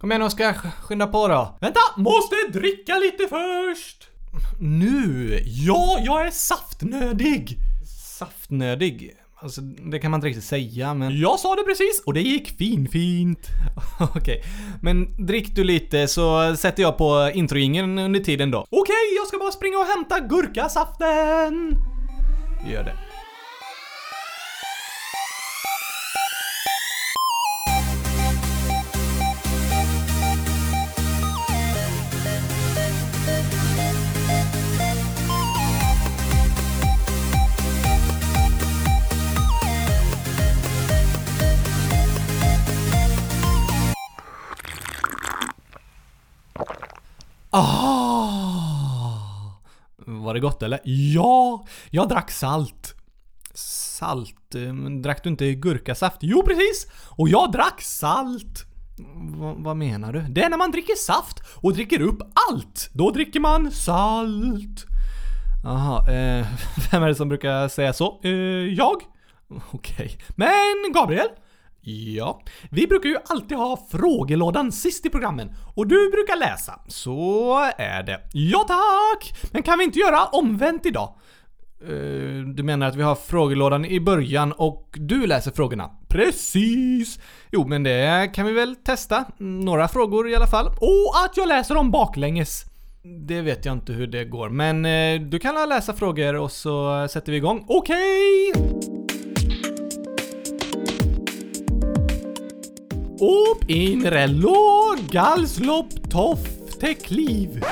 Kom igen Oskar, skynda på då. Vänta! Måste dricka lite först! Nu? Ja, jag är saftnödig! Saftnödig? Alltså, det kan man inte riktigt säga, men... Jag sa det precis och det gick finfint. Okej. Men drick du lite så sätter jag på introingen under tiden då. Okej, jag ska bara springa och hämta gurkasaften! Gör det. Ah! Var det gott eller? Ja, jag drack salt. Salt? eh, men Drack du inte gurkasaft? Jo, precis! Och jag drack salt. Va, vad menar du? Det är när man dricker saft och dricker upp allt. Då dricker man salt. Jaha, eh, vem är det som brukar säga så? Eh, jag? Okej. Men Gabriel? Ja? Vi brukar ju alltid ha frågelådan sist i programmen och du brukar läsa. Så är det. Ja tack! Men kan vi inte göra omvänt idag? Eh, du menar att vi har frågelådan i början och du läser frågorna? Precis! Jo, men det kan vi väl testa. Några frågor i alla fall. Och att jag läser dem baklänges. Det vet jag inte hur det går, men eh, du kan läsa frågor och så sätter vi igång. Okej! Op in rello galslopp tofte kliv.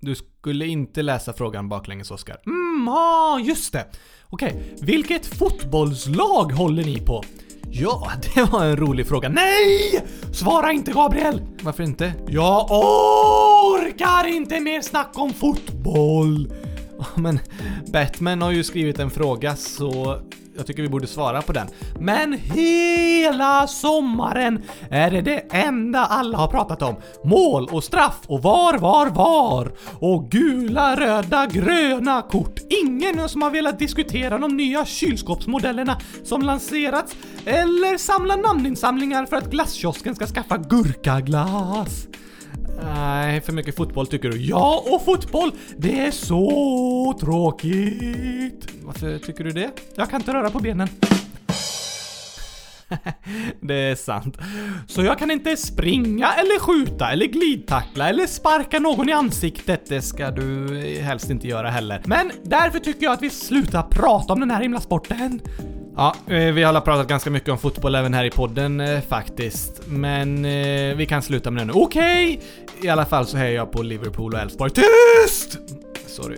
Du skulle inte läsa frågan baklänges, Oskar. Mm, ah, just det. Okej, vilket fotbollslag håller ni på? Ja, det var en rolig fråga. Nej! Nej! Svara inte Gabriel! Varför inte? Jag orkar inte mer snack om fotboll! Ja, Men Batman har ju skrivit en fråga så jag tycker vi borde svara på den. Men hela sommaren är det det enda alla har pratat om. Mål och straff och var, var, var. Och gula, röda, gröna kort. Ingen som har velat diskutera de nya kylskåpsmodellerna som lanserats eller samla namninsamlingar för att glasskiosken ska skaffa gurkaglass. Nej, för mycket fotboll tycker du. Ja, och fotboll, det är så tråkigt. Varför tycker du det? Jag kan inte röra på benen. Det är sant. Så jag kan inte springa eller skjuta eller glidtackla eller sparka någon i ansiktet. Det ska du helst inte göra heller. Men därför tycker jag att vi slutar prata om den här himla sporten. Ja, eh, vi har pratat ganska mycket om fotboll även här i podden eh, faktiskt. Men eh, vi kan sluta med det nu. Okej! I alla fall så hejar jag på Liverpool och Elfsborg. Tyst! Sorry.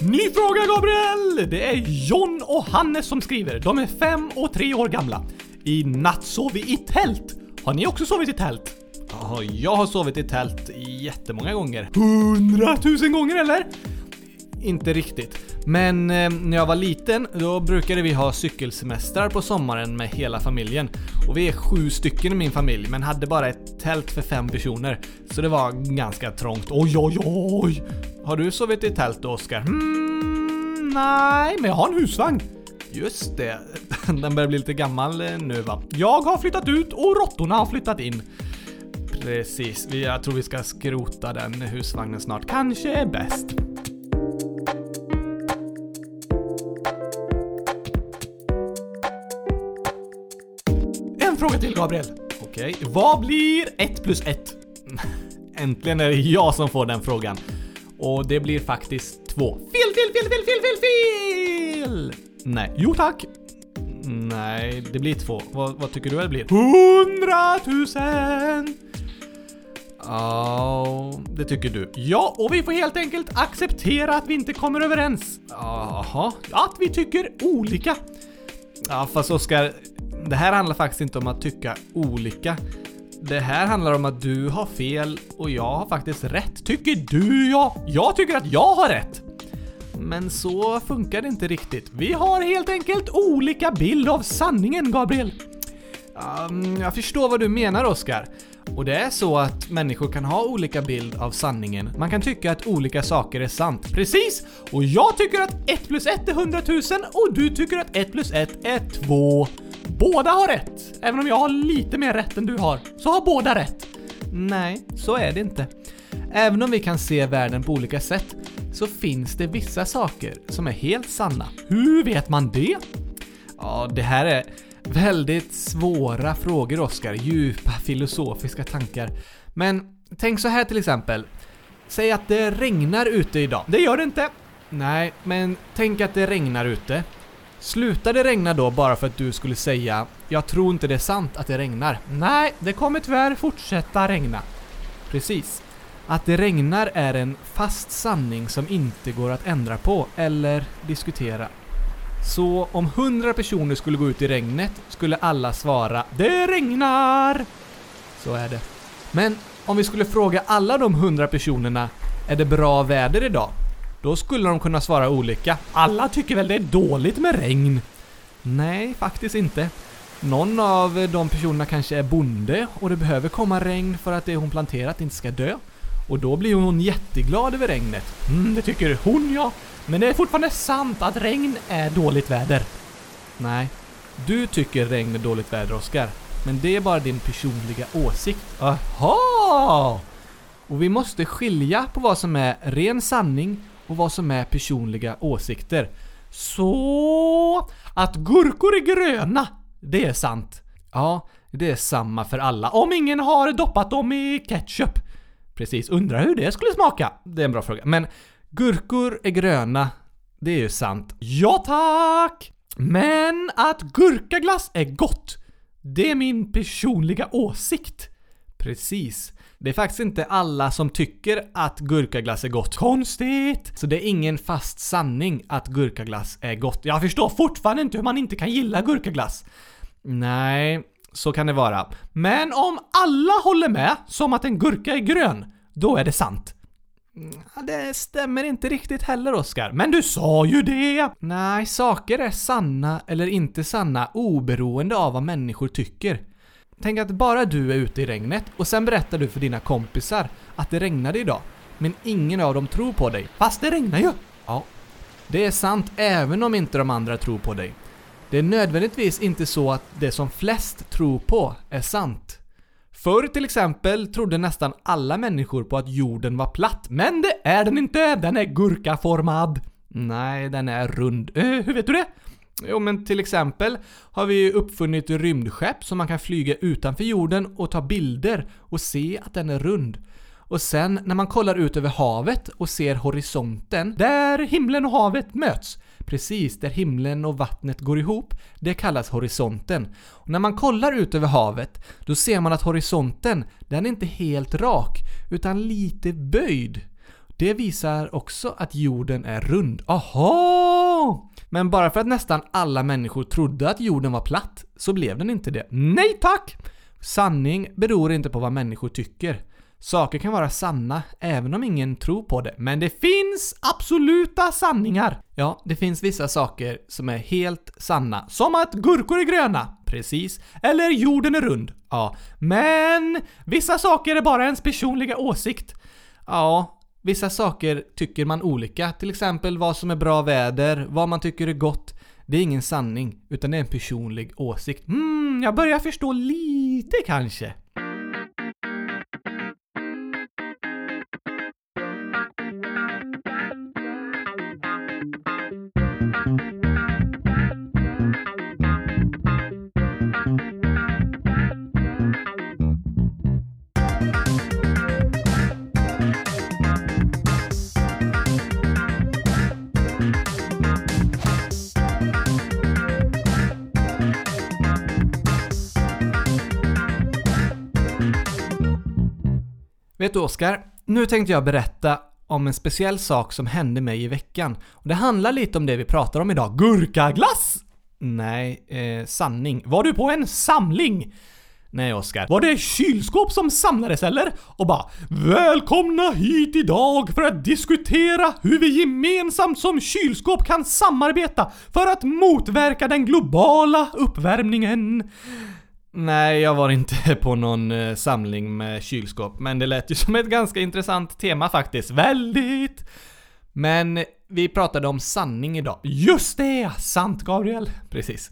Ny fråga Gabriel! Det är John och Hannes som skriver. De är fem och tre år gamla. I natt sov vi i tält. Har ni också sovit i tält? Ja, jag har sovit i tält jättemånga gånger. Hundratusen gånger eller? Inte riktigt. Men eh, när jag var liten, då brukade vi ha cykelsemestrar på sommaren med hela familjen. Och vi är sju stycken i min familj, men hade bara ett tält för fem personer. Så det var ganska trångt. Oj, oj, oj! Har du sovit i tält då, Oskar? Hmm, Mm, nej, men jag har en husvagn. Just det, den börjar bli lite gammal eh, nu va? Jag har flyttat ut och råttorna har flyttat in. Precis, Vi- jag tror vi ska skrota den husvagnen snart. Kanske är bäst. En fråga till Gabriel. Okej, Vad blir 1 plus 1? äntligen är det jag som får den frågan. Och det blir faktiskt två. Fel, fel, fel, fel, fel, fel, fel! Nej, Jo tack. nej, det blir två. Vad, vad tycker du det blir? 100 000! Ja, det tycker du. Ja, och vi får helt enkelt acceptera att vi inte kommer överens. Jaha. Att vi tycker olika. Ja, fast Oskar, det här handlar faktiskt inte om att tycka olika. Det här handlar om att du har fel och jag har faktiskt rätt. Tycker du ja? Jag tycker att jag har rätt. Men så funkar det inte riktigt. Vi har helt enkelt olika bild av sanningen, Gabriel. Um, jag förstår vad du menar Oskar. Och det är så att människor kan ha olika bild av sanningen. Man kan tycka att olika saker är sant. Precis! Och jag tycker att 1 plus 1 är 100 000 och du tycker att 1 plus 1 är 2. Båda har rätt! Även om jag har lite mer rätt än du har, så har båda rätt. Nej, så är det inte. Även om vi kan se världen på olika sätt så finns det vissa saker som är helt sanna. Hur vet man det? Ja, det här är väldigt svåra frågor, Oskar. Djupa filosofiska tankar. Men tänk så här till exempel. Säg att det regnar ute idag. Det gör det inte. Nej, men tänk att det regnar ute. Slutar det regna då bara för att du skulle säga “Jag tror inte det är sant att det regnar”? Nej, det kommer tyvärr fortsätta regna. Precis. Att det regnar är en fast sanning som inte går att ändra på eller diskutera. Så om 100 personer skulle gå ut i regnet skulle alla svara Det regnar! Så är det. Men om vi skulle fråga alla de 100 personerna Är det bra väder idag? Då skulle de kunna svara olika. Alla tycker väl det är dåligt med regn? Nej, faktiskt inte. Någon av de personerna kanske är bonde och det behöver komma regn för att det hon planterat inte ska dö. Och då blir hon jätteglad över regnet. Mm, det tycker hon ja. Men det är fortfarande sant att regn är dåligt väder. Nej, du tycker regn är dåligt väder, Oskar. Men det är bara din personliga åsikt. Aha! Och vi måste skilja på vad som är ren sanning och vad som är personliga åsikter. Så att gurkor är gröna, det är sant. Ja, det är samma för alla. Om ingen har doppat dem i ketchup. Precis, undrar hur det skulle smaka? Det är en bra fråga. Men gurkor är gröna, det är ju sant. Ja tack! Men att gurkaglass är gott, det är min personliga åsikt. Precis. Det är faktiskt inte alla som tycker att gurkaglass är gott. Konstigt! Så det är ingen fast sanning att gurkaglass är gott. Jag förstår fortfarande inte hur man inte kan gilla gurkaglass. Nej, så kan det vara. Men om alla håller med, som att en gurka är grön, då är det sant. Det stämmer inte riktigt heller, Oskar. Men du sa ju det! Nej, saker är sanna eller inte sanna oberoende av vad människor tycker. Tänk att bara du är ute i regnet och sen berättar du för dina kompisar att det regnade idag. Men ingen av dem tror på dig. Fast det regnar ju! Ja. Det är sant även om inte de andra tror på dig. Det är nödvändigtvis inte så att det som flest tror på är sant. Förr till exempel trodde nästan alla människor på att jorden var platt, men det är den inte! Den är gurkaformad! Nej, den är rund. Eh, hur vet du det? Jo, men till exempel har vi uppfunnit rymdskepp som man kan flyga utanför jorden och ta bilder och se att den är rund. Och sen när man kollar ut över havet och ser horisonten, där himlen och havet möts, precis där himlen och vattnet går ihop, det kallas horisonten. Och när man kollar ut över havet, då ser man att horisonten, den är inte helt rak, utan lite böjd. Det visar också att jorden är rund. Aha! Men bara för att nästan alla människor trodde att jorden var platt, så blev den inte det. Nej tack! Sanning beror inte på vad människor tycker. Saker kan vara sanna även om ingen tror på det, men det finns absoluta sanningar! Ja, det finns vissa saker som är helt sanna. Som att gurkor är gröna! Precis. Eller jorden är rund. Ja. Men vissa saker är bara ens personliga åsikt. Ja, vissa saker tycker man olika. Till exempel vad som är bra väder, vad man tycker är gott. Det är ingen sanning, utan det är en personlig åsikt. Mm, Hmm, jag börjar förstå lite kanske. Vet du Oskar, nu tänkte jag berätta om en speciell sak som hände mig i veckan. Och det handlar lite om det vi pratar om idag. Gurkaglass! Nej, eh, sanning. Var du på en samling? Nej Oskar. Var det kylskåp som samlades eller? Och bara “Välkomna hit idag för att diskutera hur vi gemensamt som kylskåp kan samarbeta för att motverka den globala uppvärmningen”. Nej, jag var inte på någon eh, samling med kylskåp, men det lät ju som ett ganska intressant tema faktiskt. Väldigt! Men vi pratade om sanning idag. Just det! Sant Gabriel! Precis.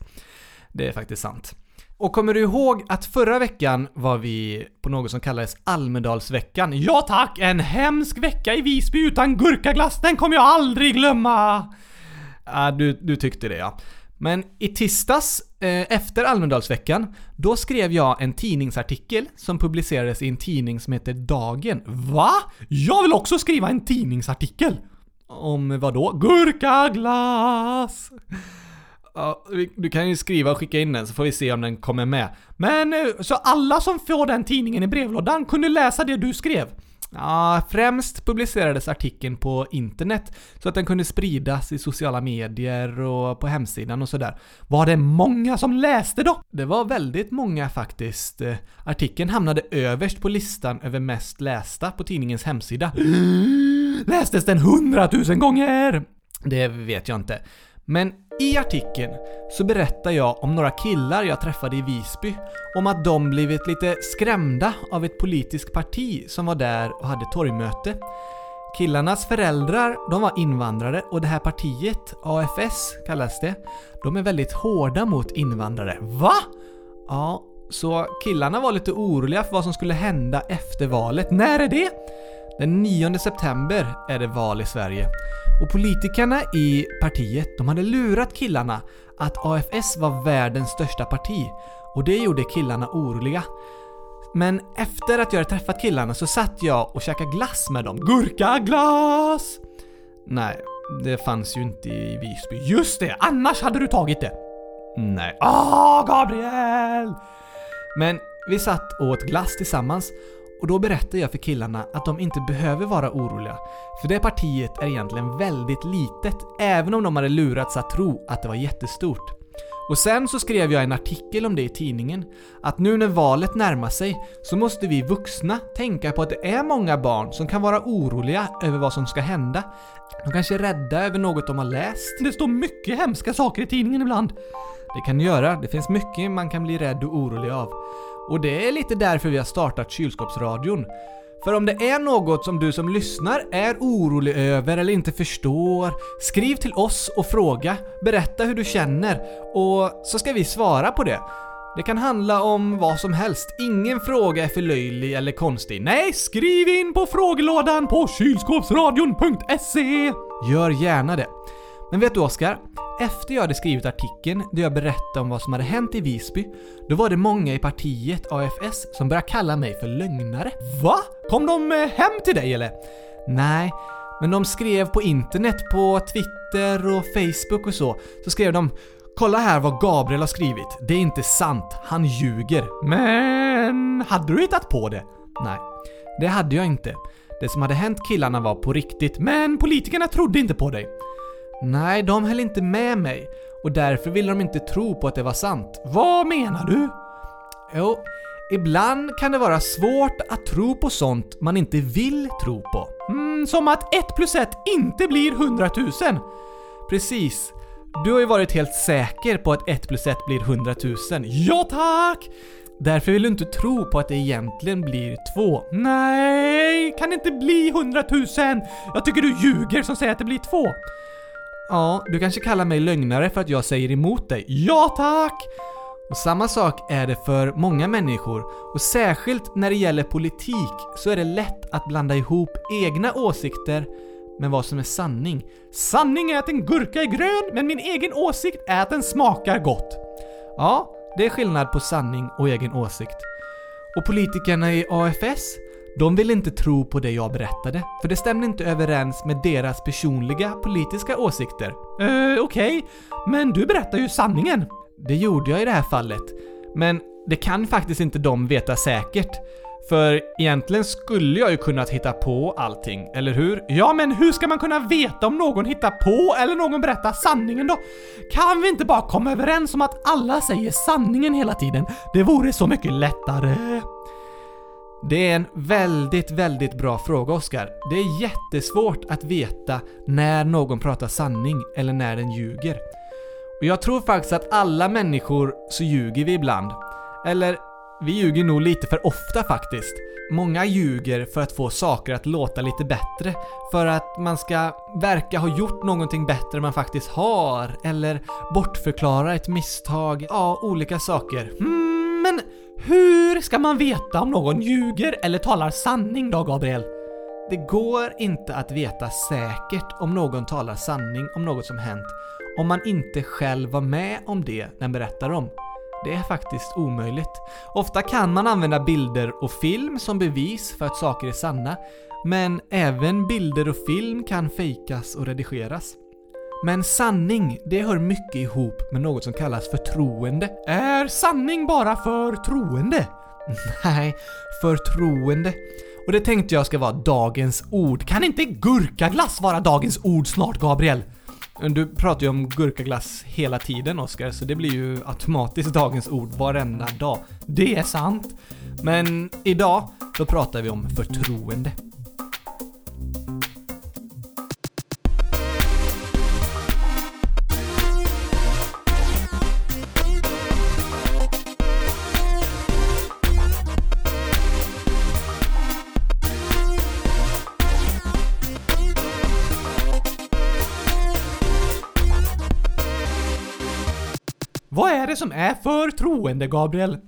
Det är faktiskt sant. Och kommer du ihåg att förra veckan var vi på något som kallades Almedalsveckan? Ja tack, en hemsk vecka i Visby utan gurkaglass, den kommer jag aldrig glömma! Ja, du, du tyckte det ja. Men i tisdags, eh, efter Almedalsveckan, då skrev jag en tidningsartikel som publicerades i en tidning som heter Dagen. Va? Jag vill också skriva en tidningsartikel! Om vad då? Gurkaglass! Ja, vi- du kan ju skriva och skicka in den så får vi se om den kommer med. Men eh, så alla som får den tidningen i brevlådan kunde läsa det du skrev? Ja, främst publicerades artikeln på internet så att den kunde spridas i sociala medier och på hemsidan och sådär. Var det många som läste då? Det var väldigt många faktiskt. Eh, Artikeln hamnade överst på listan över mest lästa på tidningens hemsida. Lästes den hundratusen gånger? Det vet jag inte. Men i artikeln så berättar jag om några killar jag träffade i Visby. Om att de blivit lite skrämda av ett politiskt parti som var där och hade torgmöte. Killarnas föräldrar, de var invandrare och det här partiet, AFS kallas det, de är väldigt hårda mot invandrare. Va? Ja, så killarna var lite oroliga för vad som skulle hända efter valet. När är det? Den 9 september är det val i Sverige. Och politikerna i partiet, de hade lurat killarna att AFS var världens största parti. Och det gjorde killarna oroliga. Men efter att jag hade träffat killarna så satt jag och käkade glass med dem. Gurkaglass! Nej, det fanns ju inte i Visby. Just det, annars hade du tagit det. Nej. Ah, Gabriel! Men vi satt och åt glass tillsammans och då berättade jag för killarna att de inte behöver vara oroliga. För det partiet är egentligen väldigt litet, även om de hade lurats att tro att det var jättestort. Och sen så skrev jag en artikel om det i tidningen, att nu när valet närmar sig så måste vi vuxna tänka på att det är många barn som kan vara oroliga över vad som ska hända. De kanske är rädda över något de har läst. Det står mycket hemska saker i tidningen ibland. Det kan göra. Det finns mycket man kan bli rädd och orolig av. Och det är lite därför vi har startat kylskåpsradion. För om det är något som du som lyssnar är orolig över eller inte förstår, skriv till oss och fråga. Berätta hur du känner och så ska vi svara på det. Det kan handla om vad som helst. Ingen fråga är för löjlig eller konstig. Nej, skriv in på frågelådan på kylskåpsradion.se! E. Gör gärna det. Men vet du Oskar? Efter jag hade skrivit artikeln där jag berättade om vad som hade hänt i Visby, då var det många i partiet AFS som började kalla mig för lögnare. Va? Kom de eh, hem till dig eller? Nej, men de skrev på internet, på Twitter och Facebook och så, så skrev de “Kolla här vad Gabriel har skrivit. Det är inte sant. Han ljuger.” Men hade du hittat på det? Nej, det hade jag inte. Det som hade hänt killarna var på riktigt, Men politikerna trodde inte på dig. Nej, de höll inte med mig och därför ville de inte tro på att det var sant. Vad menar du? Jo, ibland kan det vara svårt att tro på sånt man inte vill tro på. Mm, som att ett plus ett inte blir hundratusen. Precis. Du har ju varit helt säker på att 1 plus 1 blir 100 000. Ja tack! Därför vill du inte tro på att det egentligen blir 2. Nej, kan det inte bli hundratusen? Jag tycker du ljuger som säger att det blir två. Ja, du kanske kallar mig lögnare för att jag säger emot dig. Ja tack! Och samma sak är det för många människor och särskilt när det gäller politik så är det lätt att blanda ihop egna åsikter med vad som är sanning. Sanningen är att en gurka är grön, men min egen åsikt är att den smakar gott. Ja, det är skillnad på sanning och egen åsikt. Och politikerna i AFS, de ville inte tro på det jag berättade, för det stämde inte överens med deras personliga politiska åsikter. Eh, okej. Men du berättar ju sanningen. Det gjorde jag i det här fallet. Men det kan faktiskt inte de veta säkert. För egentligen skulle jag ju kunnat hitta på allting, eller hur? Ja, men hur ska man kunna veta om någon hittar på eller någon berättar sanningen då? Kan vi inte bara komma överens om att alla säger sanningen hela tiden? Det vore så mycket lättare. Det är en väldigt, väldigt bra fråga Oskar. Det är jättesvårt att veta när någon pratar sanning eller när den ljuger. Och jag tror faktiskt att alla människor så ljuger vi ibland. Eller, vi ljuger nog lite för ofta faktiskt. Många ljuger för att få saker att låta lite bättre. För att man ska verka ha gjort någonting bättre än man faktiskt har. Eller bortförklara ett misstag. Ja, olika saker. Hmm, Mm, men hur ska man veta om någon ljuger eller talar sanning då, Gabriel? Det går inte att veta säkert om någon talar sanning om något som hänt om man inte själv var med om det den berättar om. Det är faktiskt omöjligt. Ofta kan man använda bilder och film som bevis för att saker är sanna, men även bilder och film kan fejkas och redigeras. Men sanning, det hör mycket ihop med något som kallas förtroende. Är sanning bara förtroende? Nej, förtroende. Och det tänkte jag ska vara dagens ord. Kan inte gurkaglass vara dagens ord snart, Gabriel? Du pratar ju om gurkaglass hela tiden Oskar, så det blir ju automatiskt dagens ord varenda dag. Det är sant. Men idag, då pratar vi om förtroende. Vad är det som är förtroende, Gabriel?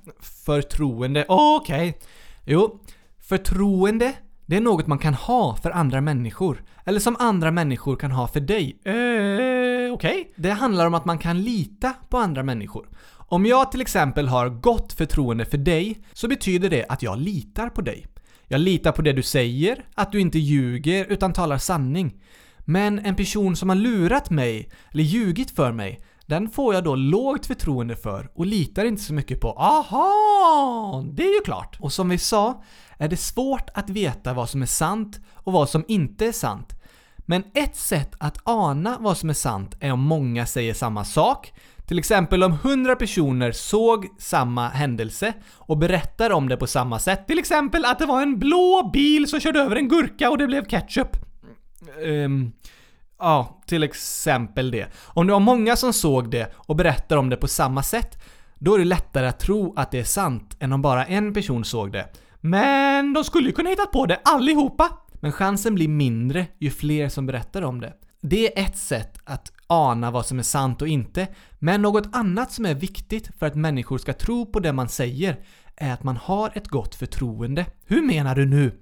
Förtroende? Okej. Jo, förtroende, det är något man kan ha för andra människor. Eller som andra människor kan ha för dig. Eh, okej. Det handlar om att man kan lita på andra människor. Om jag till exempel har gott förtroende för dig, så betyder det att jag litar på dig. Jag litar på det du säger, att du inte ljuger utan talar sanning. Men en person som har lurat mig, eller ljugit för mig, den får jag då lågt förtroende för och litar inte så mycket på. Aha! Det är ju klart. Och som vi sa är det svårt att veta vad som är sant och vad som inte är sant. Men ett sätt att ana vad som är sant är om många säger samma sak. Till exempel om 100 personer såg samma händelse och berättar om det på samma sätt. Till exempel att det var en blå bil som körde över en gurka och det blev ketchup. Ehm, ja, till exempel det. Om du har många som såg det och berättar om det på samma sätt, då är det lättare att tro att det är sant än om bara en person såg det. Men de skulle ju kunna hittat på det allihopa. Men chansen blir mindre ju fler som berättar om det. Det är ett sätt att ana vad som är sant och inte, men något annat som är viktigt för att människor ska tro på det man säger är att man har ett gott förtroende. Hur menar du nu?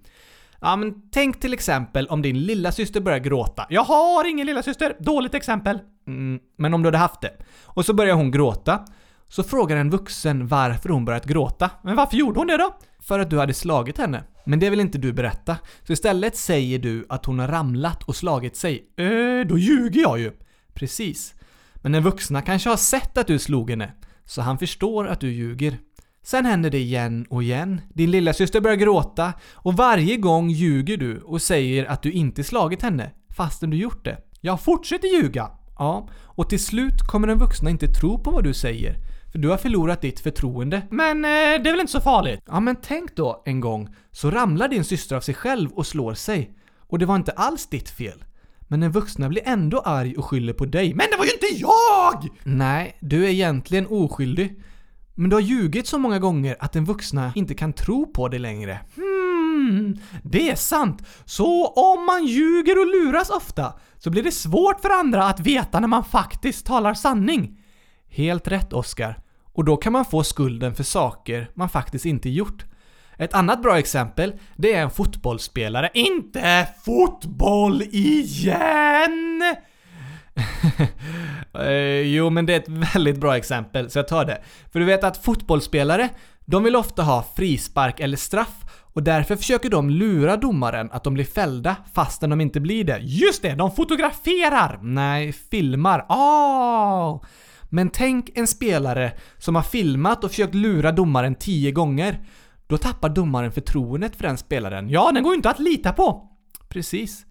Ja, men tänk till exempel om din lilla syster börjar gråta. Jag har ingen lilla syster. Dåligt exempel. Mm, men om du hade haft det. Och så börjar hon gråta. Så frågar en vuxen varför hon börjat gråta. Men varför gjorde hon det då? För att du hade slagit henne. Men det vill inte du berätta. Så istället säger du att hon har ramlat och slagit sig. Eh, då ljuger jag ju. Precis. Men den vuxna kanske har sett att du slog henne. Så han förstår att du ljuger. Sen händer det igen och igen. Din lilla syster börjar gråta och varje gång ljuger du och säger att du inte slagit henne fastän du gjort det. Jag fortsätter ljuga. Ja, och till slut kommer den vuxna inte tro på vad du säger. För du har förlorat ditt förtroende. Men eh, det är väl inte så farligt? Ja, men tänk då en gång så ramlar din syster av sig själv och slår sig. Och det var inte alls ditt fel. Men den vuxna blir ändå arg och skyller på dig. Men Men det var ju inte jag! nej, du är egentligen oskyldig. Men du har ljugit så många gånger att den vuxna inte kan tro på dig längre. Hmm, det är sant. Så om man ljuger och luras ofta så blir det svårt för andra att veta när man faktiskt talar sanning. Helt rätt Oscar. Och då kan man få skulden för saker man faktiskt inte gjort. Ett annat bra exempel, det är en fotbollsspelare. Inte fotboll igen! Eh, jo, men det är ett väldigt bra exempel, så jag tar det. För du vet att fotbollsspelare, de vill ofta ha frispark eller straff och därför försöker de lura domaren att de blir fällda fastän de inte blir det. Just det, de fotograferar! Nej, filmar. Ah! Men tänk en spelare som har filmat och försökt lura domaren tio gånger. Då tappar domaren förtroendet för den spelaren. Ja, den går ju inte att lita på. Precis.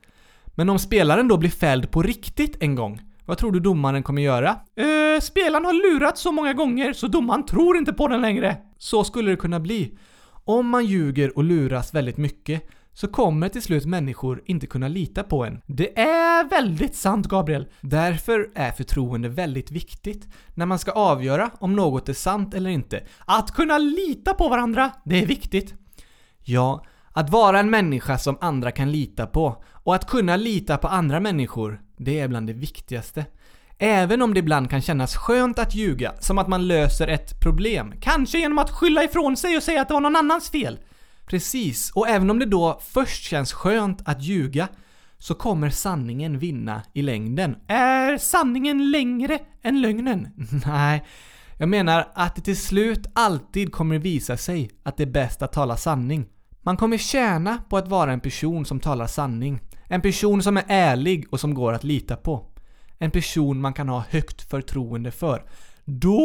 Men om spelaren då blir fälld på riktigt en gång, vad tror du domaren kommer göra? Eh, spelaren har lurat så många gånger så domaren tror inte på den längre. Så skulle det kunna bli. Om man ljuger och luras väldigt mycket så kommer till slut människor inte kunna lita på en. Det är väldigt sant Gabriel. Därför är förtroende väldigt viktigt när man ska avgöra om något är sant eller inte. Att kunna lita på varandra, det är viktigt. Ja, att vara en människa som andra kan lita på och att kunna lita på andra människor, det är bland det viktigaste. Även om det ibland kan kännas skönt att ljuga, som att man löser ett problem. Kanske genom att skylla ifrån sig och säga att det var någon annans fel. Precis, och även om det då först känns skönt att ljuga så kommer sanningen vinna i längden. Är sanningen längre än lögnen? Nej, jag menar att det till slut alltid kommer visa sig att det är bäst att tala sanning. Man kommer tjäna på att vara en person som talar sanning. En person som är ärlig och som går att lita på. En person man kan ha högt förtroende för. Då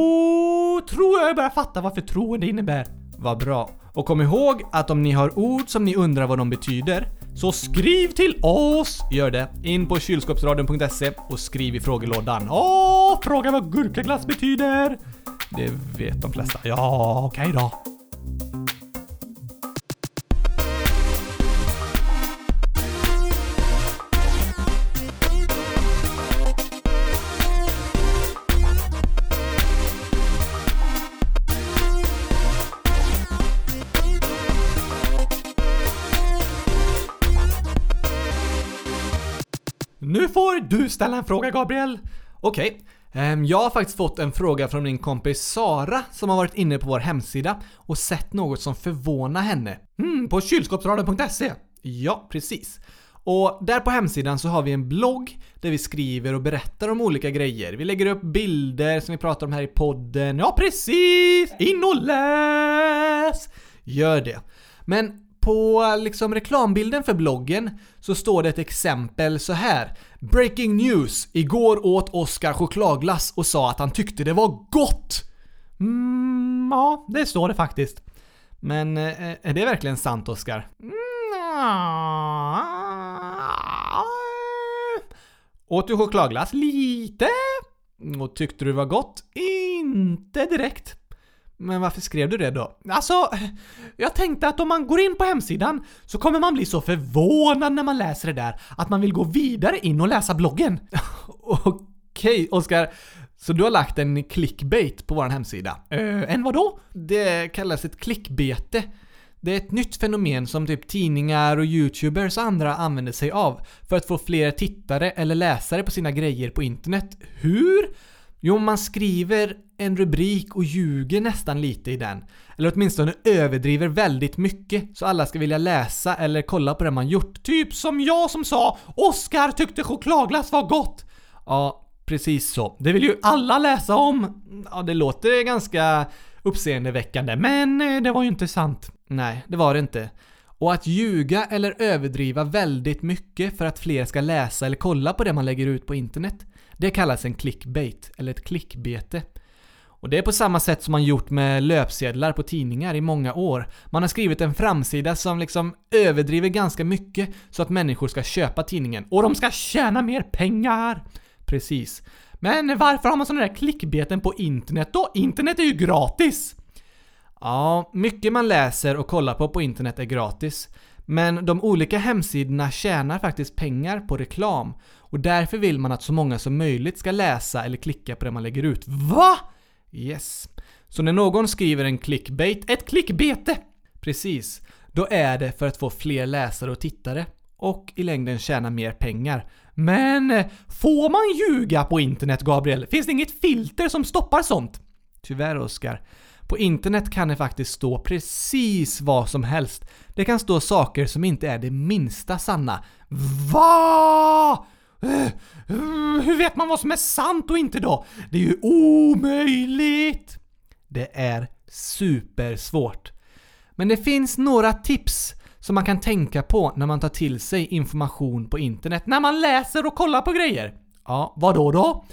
tror jag jag börjar fatta vad förtroende innebär. Vad bra. Och kom ihåg att om ni har ord som ni undrar vad de betyder, så skriv till oss! Gör det. In på kylskåpsradion.se och skriv i frågelådan. Åh, fråga vad gurkaglass betyder! Det vet de flesta. Ja, okej då. Nu får du ställa en fråga Gabriel. Okej. Ehm, Jag har faktiskt fått en fråga från min kompis Sara som har varit inne på vår hemsida och sett något som förvånar henne. Hmm, Mm, på kylskåpsradion.se. Ja, precis. Och där på hemsidan så har vi en blogg där vi skriver och berättar om olika grejer. Vi lägger upp bilder som vi pratar om här i podden. Ja, precis! In och läs! Gör det. Men på liksom reklambilden för bloggen så står det ett exempel så här. Breaking news! Igår åt Oscar chokladglass och sa att han tyckte det var gott! Mm, ja, det står det faktiskt. Men eh, är det verkligen sant Oscar? Mm, Åt du chokladglass? Lite? Och tyckte du det var gott? Inte direkt. Men varför skrev du det då? Alltså, jag tänkte att om man går in på hemsidan så kommer man bli så förvånad när man läser det där att man vill gå vidare in och läsa bloggen. Okej Oskar, så du har lagt en clickbait på vår hemsida? Äh, en vadå? Det kallas ett klickbete. Det är ett nytt fenomen som typ tidningar och youtubers och andra använder sig av för att få fler tittare eller läsare på sina grejer på internet. Hur? Jo, man skriver en rubrik och ljuger nästan lite i den. Eller åtminstone överdriver väldigt mycket så alla ska vilja läsa eller kolla på det man gjort. Typ som jag som sa “Oskar tyckte chokladglass var gott”. Ja, precis så. Det vill ju alla läsa om. Ja, det låter ganska uppseendeväckande, Men eh, det var ju inte sant. Nej, det var det inte. Och att ljuga eller överdriva väldigt mycket för att fler ska läsa eller kolla på det man lägger ut på internet, det kallas en clickbait, eller ett klickbete. Och det är på samma sätt som man gjort med löpsedlar på tidningar i många år. Man har skrivit en framsida som liksom överdriver ganska mycket så att människor ska köpa tidningen. Och de ska tjäna mer pengar! Precis. Men varför har man såna där klickbeten på internet då? Internet är ju gratis! Ja, mycket man läser och kollar på på internet är gratis. Men de olika hemsidorna tjänar faktiskt pengar på reklam och därför vill man att så många som möjligt ska läsa eller klicka på det man lägger ut. Va? Yes. Så när någon skriver en clickbait, Ett klickbete! precis, då är det för att få fler läsare och tittare och i längden tjäna mer pengar. Men eh, får man ljuga på internet, Gabriel? Finns det inget filter som stoppar sånt? Tyvärr Oskar. På internet kan det faktiskt stå precis vad som helst. Det kan stå saker som inte är det minsta sanna. Va? Eh, mm, Hur vet man vad som är sant och inte då? Det är ju omöjligt! Det är supersvårt. Men det finns några tips som man kan tänka på när man tar till sig information på internet. När man läser och kollar på grejer. Ja, Vad då då?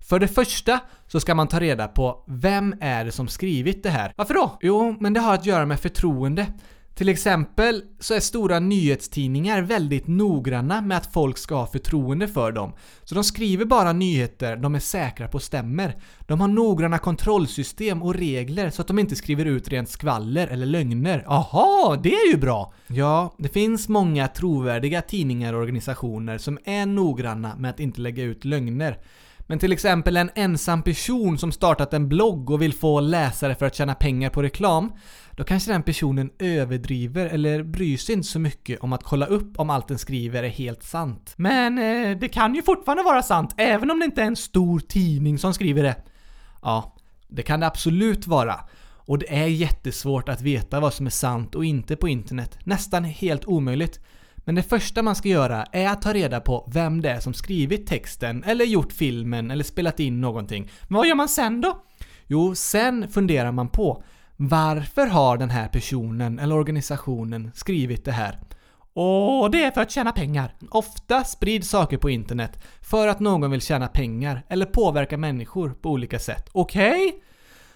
För det första så ska man ta reda på vem är det som skrivit det här. Varför då? Jo, men det har att göra med förtroende. Till exempel så är stora nyhetstidningar väldigt noggranna med att folk ska ha förtroende för dem. Så de skriver bara nyheter de är säkra på stämmer. De har noggranna kontrollsystem och regler så att de inte skriver ut rent skvaller eller lögner. Aha, det är ju bra! Ja, det finns många trovärdiga tidningar och organisationer som är noggranna med att inte lägga ut lögner. Men till exempel en ensam person som startat en blogg och vill få läsare för att tjäna pengar på reklam, då kanske den personen överdriver eller bryr sig inte så mycket om att kolla upp om allt den skriver är helt sant. Men eh, det kan ju fortfarande vara sant, även om det inte är en stor tidning som skriver det. Ja, det kan det absolut vara. Och det är jättesvårt att veta vad som är sant och inte på internet. Nästan helt omöjligt. Men det första man ska göra är att ta reda på vem det är som skrivit texten eller gjort filmen eller spelat in någonting. Men vad gör man sen då? Jo, sen funderar man på varför har den här personen eller organisationen skrivit det här? Och det är för att tjäna pengar. Ofta sprids saker på internet för att någon vill tjäna pengar eller påverka människor på olika sätt. Okej? Okay?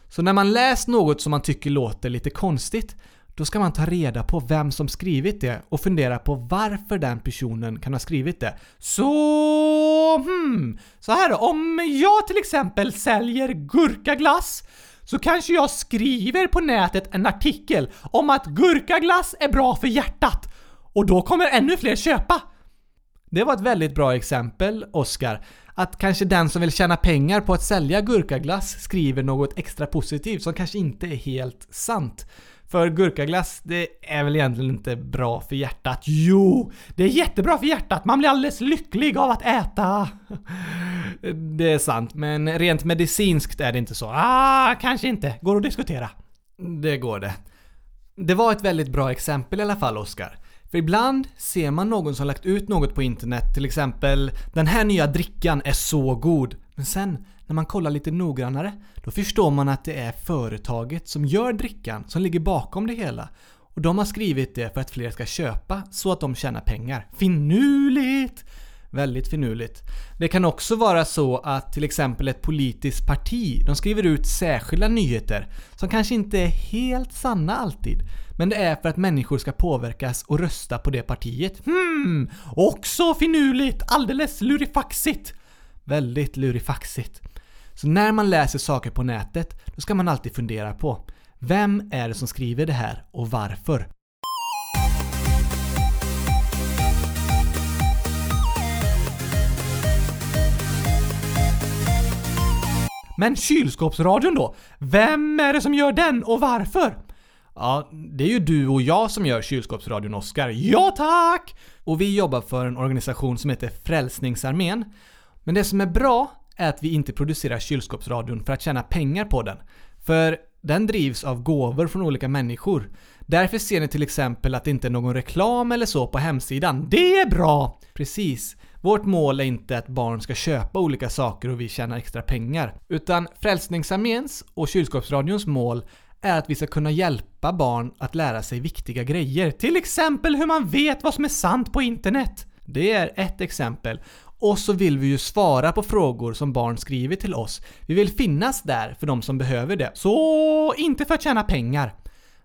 Så när man läst något som man tycker låter lite konstigt, då ska man ta reda på vem som skrivit det och fundera på varför den personen kan ha skrivit det. Så... Hmm. Så här då, om jag till exempel säljer gurkaglass så kanske jag skriver på nätet en artikel om att gurkaglass är bra för hjärtat och då kommer ännu fler köpa. Det var ett väldigt bra exempel, Oskar. Att kanske den som vill tjäna pengar på att sälja gurkaglass skriver något extra positivt som kanske inte är helt sant. För gurkaglass, det är väl egentligen inte bra för hjärtat? Jo! Det är jättebra för hjärtat, man blir alldeles lycklig av att äta. Det är sant, men rent medicinskt är det inte så. Ah, kanske inte. Går att diskutera. Det går det. Det var ett väldigt bra exempel i alla fall, Oskar. För ibland ser man någon som lagt ut något på internet, till exempel “Den här nya drickan är så god” Men sen, när man kollar lite noggrannare, då förstår man att det är företaget som gör drickan som ligger bakom det hela. Och de har skrivit det för att fler ska köpa så att de tjänar pengar. Finurligt! Väldigt finurligt. Det kan också vara så att till exempel ett politiskt parti, de skriver ut särskilda nyheter som kanske inte är helt sanna alltid. Men det är för att människor ska påverkas och rösta på det partiet. Hmm, också finurligt! Alldeles lurifaxigt! Väldigt lurifaxigt. Så när man läser saker på nätet, då ska man alltid fundera på vem är det som skriver det här och varför? Men kylskåpsradion då? Vem är det som gör den och varför? Ja, det är ju du och jag som gör kylskåpsradion Oskar. Ja tack! Och vi jobbar för en organisation som heter Frälsningsarmén. Men det som är bra är att vi inte producerar kylskåpsradion för att tjäna pengar på den. För den drivs av gåvor från olika människor. Därför ser ni till exempel att det inte är någon reklam eller så på hemsidan. Det är bra! Precis. Vårt mål är inte att barn ska köpa olika saker och vi tjänar extra pengar. Utan Frälsningsarméns och Kylskåpsradions mål är att vi ska kunna hjälpa barn att lära sig viktiga grejer. Till exempel hur man vet vad som är sant på internet. Det är ett exempel. Och så vill vi ju svara på frågor som barn skriver till oss. Vi vill finnas där för de som behöver det. Så inte för att tjäna pengar.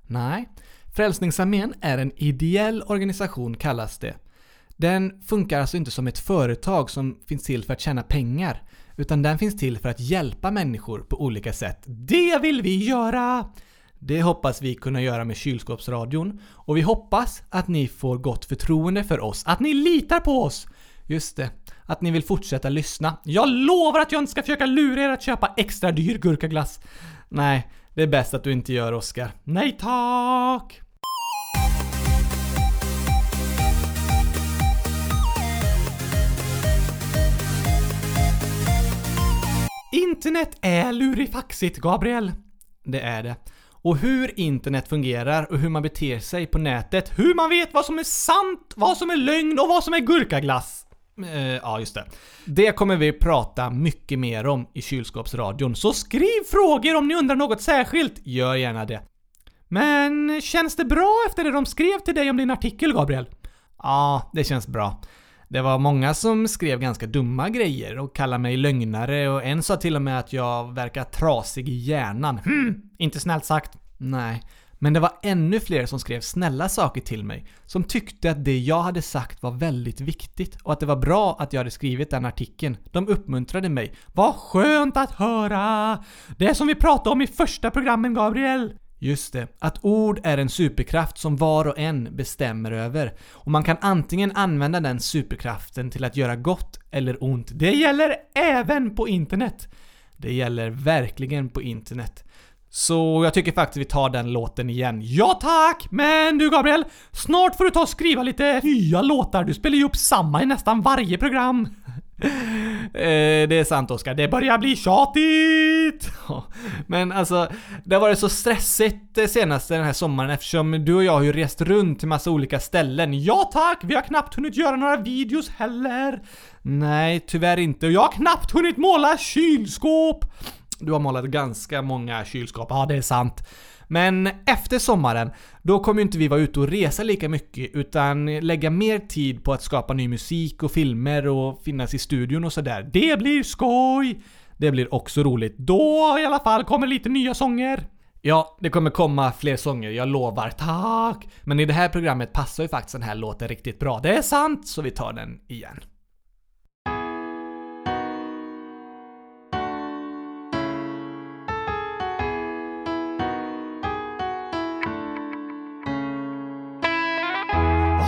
Nej. Frälsningsarmén är en ideell organisation kallas det. Den funkar alltså inte som ett företag som finns till för att tjäna pengar. Utan den finns till för att hjälpa människor på olika sätt. Det vill vi göra! Det hoppas vi kunna göra med kylskåpsradion. Och vi hoppas att ni får gott förtroende för oss. Att ni litar på oss! Just det. Att ni vill fortsätta lyssna. Jag lovar att jag inte ska försöka lura er att köpa extra dyr gurkaglass. Nej, det är bäst att du inte gör Oskar. Nej tack! Internet är lurifaxigt, Gabriel. Det är det. Och hur internet fungerar och hur man beter sig på nätet, hur man vet vad som är sant, vad som är lögn och vad som är gurkaglass. Eh, ja, just det. Det kommer vi prata mycket mer om i kylskåpsradion, så skriv frågor om ni undrar något särskilt. Gör gärna det. Men känns det bra efter det de skrev till dig om din artikel, Gabriel? Ja, det känns bra. Det var många som skrev ganska dumma grejer och kallade mig lögnare och en sa till och med att jag verkar trasig i hjärnan. Hm, Hmm, inte snällt sagt. Nej. Men det var ännu fler som skrev snälla saker till mig, som tyckte att det jag hade sagt var väldigt viktigt och att det var bra att jag hade skrivit den artikeln. De uppmuntrade mig. Vad skönt att höra! Det som vi pratade om i första programmen, Gabriel. Just det, att ord är en superkraft som var och en bestämmer över. Och man kan antingen använda den superkraften till att göra gott eller ont. Det gäller även på internet. Det gäller verkligen på internet. Så jag tycker faktiskt vi tar den låten igen. Ja tack! Men du Gabriel, snart får du ta och skriva lite nya låtar. Du spelar ju upp samma i nästan varje program. Eh, det är sant Oskar, det börjar bli tjatigt! Ja, Men alltså, det har varit så stressigt det senaste den här sommaren eftersom du och jag har ju rest runt till massa olika ställen. Ja tack, vi har knappt hunnit göra några videos heller. Nej, tyvärr inte. Och jag har knappt hunnit måla kylskåp. Du har målat ganska många kylskåp, ja det är sant. Men efter sommaren, då kommer ju inte vi vara ute och resa lika mycket utan lägga mer tid på att skapa ny musik och filmer och finnas i studion och sådär. Det blir skoj! Det blir också roligt. Då i alla fall kommer lite nya sånger. Ja, det kommer komma fler sånger, jag lovar. Tack! Men i det här programmet passar ju faktiskt den här låten riktigt bra. Det är sant, så vi tar den igen. Vad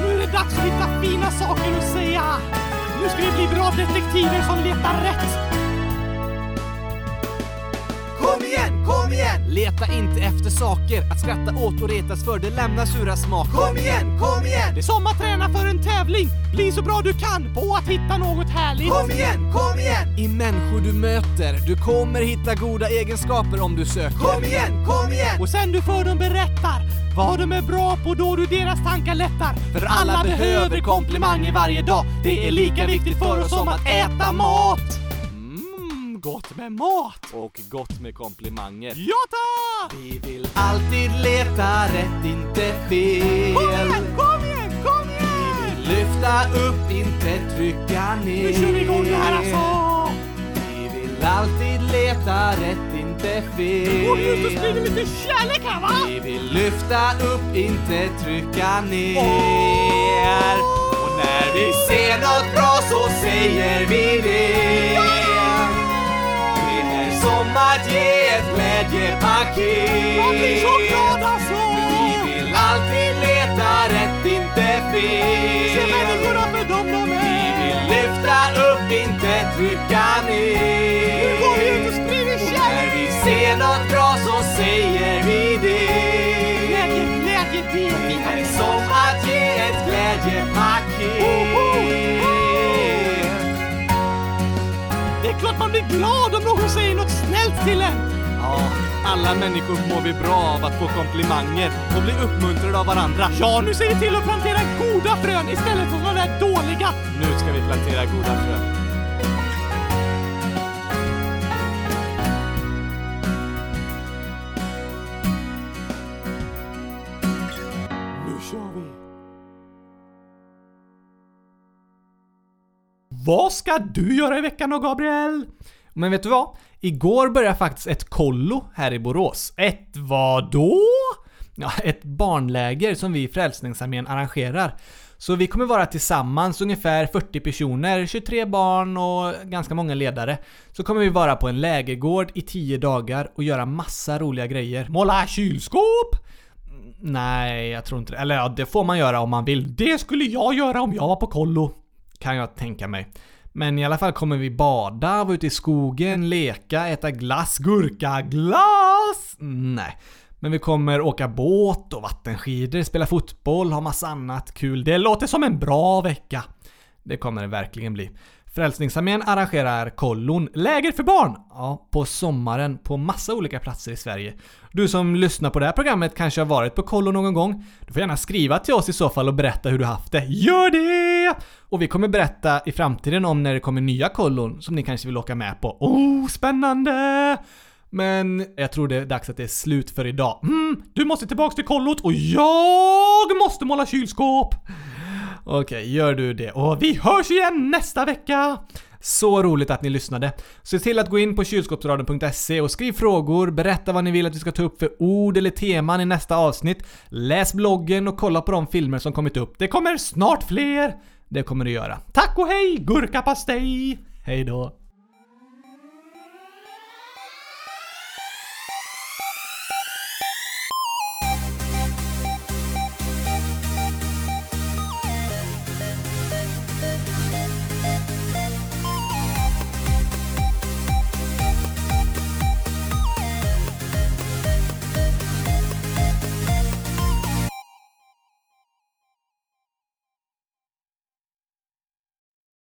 Nu är det dags att hitta fina saker att säga! Nu ska vi bli bra detektiver som letar rätt! kom igen, kom igen, Leta inte efter saker att skratta åt och retas för, det lämnar sura smak. kom igen, kom Det är igen, som att träna för en tävling! Bli så bra du kan på att hitta något härligt! kom igen, kom igen, I människor du möter, du kommer hitta goda egenskaper om du söker. kom igen, kom igen, Och sen du för dem berättar vad de är bra på då du deras tankar lättar. För alla behöver komplimanger varje dag. Det är lika viktigt för oss som att äta mat. Mm, Mmm, gott med mat. Och gott med komplimanger. Ja tack! Vi vill alltid leta rätt, inte fel. Kom igen, kom igen, kom igen! Lyfta upp, inte trycka ner. Nu kör vi igång det här alltså! Vi vill alltid leta rätt, inte Går vi ut och fel. sprider lite kärlek här va? Vi vill lyfta upp, inte trycka ner. Och när vi ser något bra så säger vi det. Det är som att ge ett Jag blir så glad glädjepaket. alltså! Vi vill alltid leta rätt, inte Se fel. människorna för dem de är! Lyfta upp, inte trycka ner. Nu går vi ut och sprider Och När kärlek! vi ser något bra så säger vi det. Glädje, glädje, det är Det vi är som att ge ett glädjepaket. Det är klart man blir glad om någon säger något snällt till en! Ja, alla människor mår vi bra av att få komplimanger och bli uppmuntrade av varandra. Ja, nu ser vi till att plantera goda frön istället för de där dåliga! Nu ska vi plantera goda frön. Nu kör vi! Vad ska du göra i veckan då, Gabriel? Men vet du vad? Igår började faktiskt ett kollo här i Borås. Ett vadå? ja, ett barnläger som vi i Frälsningsarmén arrangerar. Så vi kommer vara tillsammans ungefär 40 personer, 23 barn och ganska många ledare. Så kommer vi vara på en lägergård i 10 dagar och göra massa roliga grejer. Måla kylskåp? Nej, jag tror inte det. Eller ja, det får man göra om man vill. Det skulle jag göra om jag var på kollo. Kan jag tänka mig. Men i alla fall kommer vi bada, vara ute i skogen, leka, äta glass, gurka, glass! Nej. Men vi kommer åka båt och vattenskidor, spela fotboll, ha massa annat kul. Det låter som en bra vecka. Det kommer det verkligen bli. Frälsningsarmén arrangerar kollon, läger för barn! Ja, på sommaren på massa olika platser i Sverige. Du som lyssnar på det här programmet kanske har varit på kollo någon gång? Du får gärna skriva till oss i så fall och berätta hur du haft det. Gör det! Och vi kommer berätta i framtiden om när det kommer nya kollon som ni kanske vill åka med på. Oh, spännande! Men jag tror det är dags att det är slut för idag. Mm, du måste tillbaks till kollot och jag måste måla kylskåp! Okej, gör du det. Och vi hörs igen nästa vecka! Så roligt att ni lyssnade. Se till att gå in på kylskåpsradion.se och skriv frågor, berätta vad ni vill att vi ska ta upp för ord eller teman i nästa avsnitt. Läs bloggen och kolla på de filmer som kommit upp. Det kommer snart fler! Det kommer det göra. Tack och hej, gurkapastej! Hej då!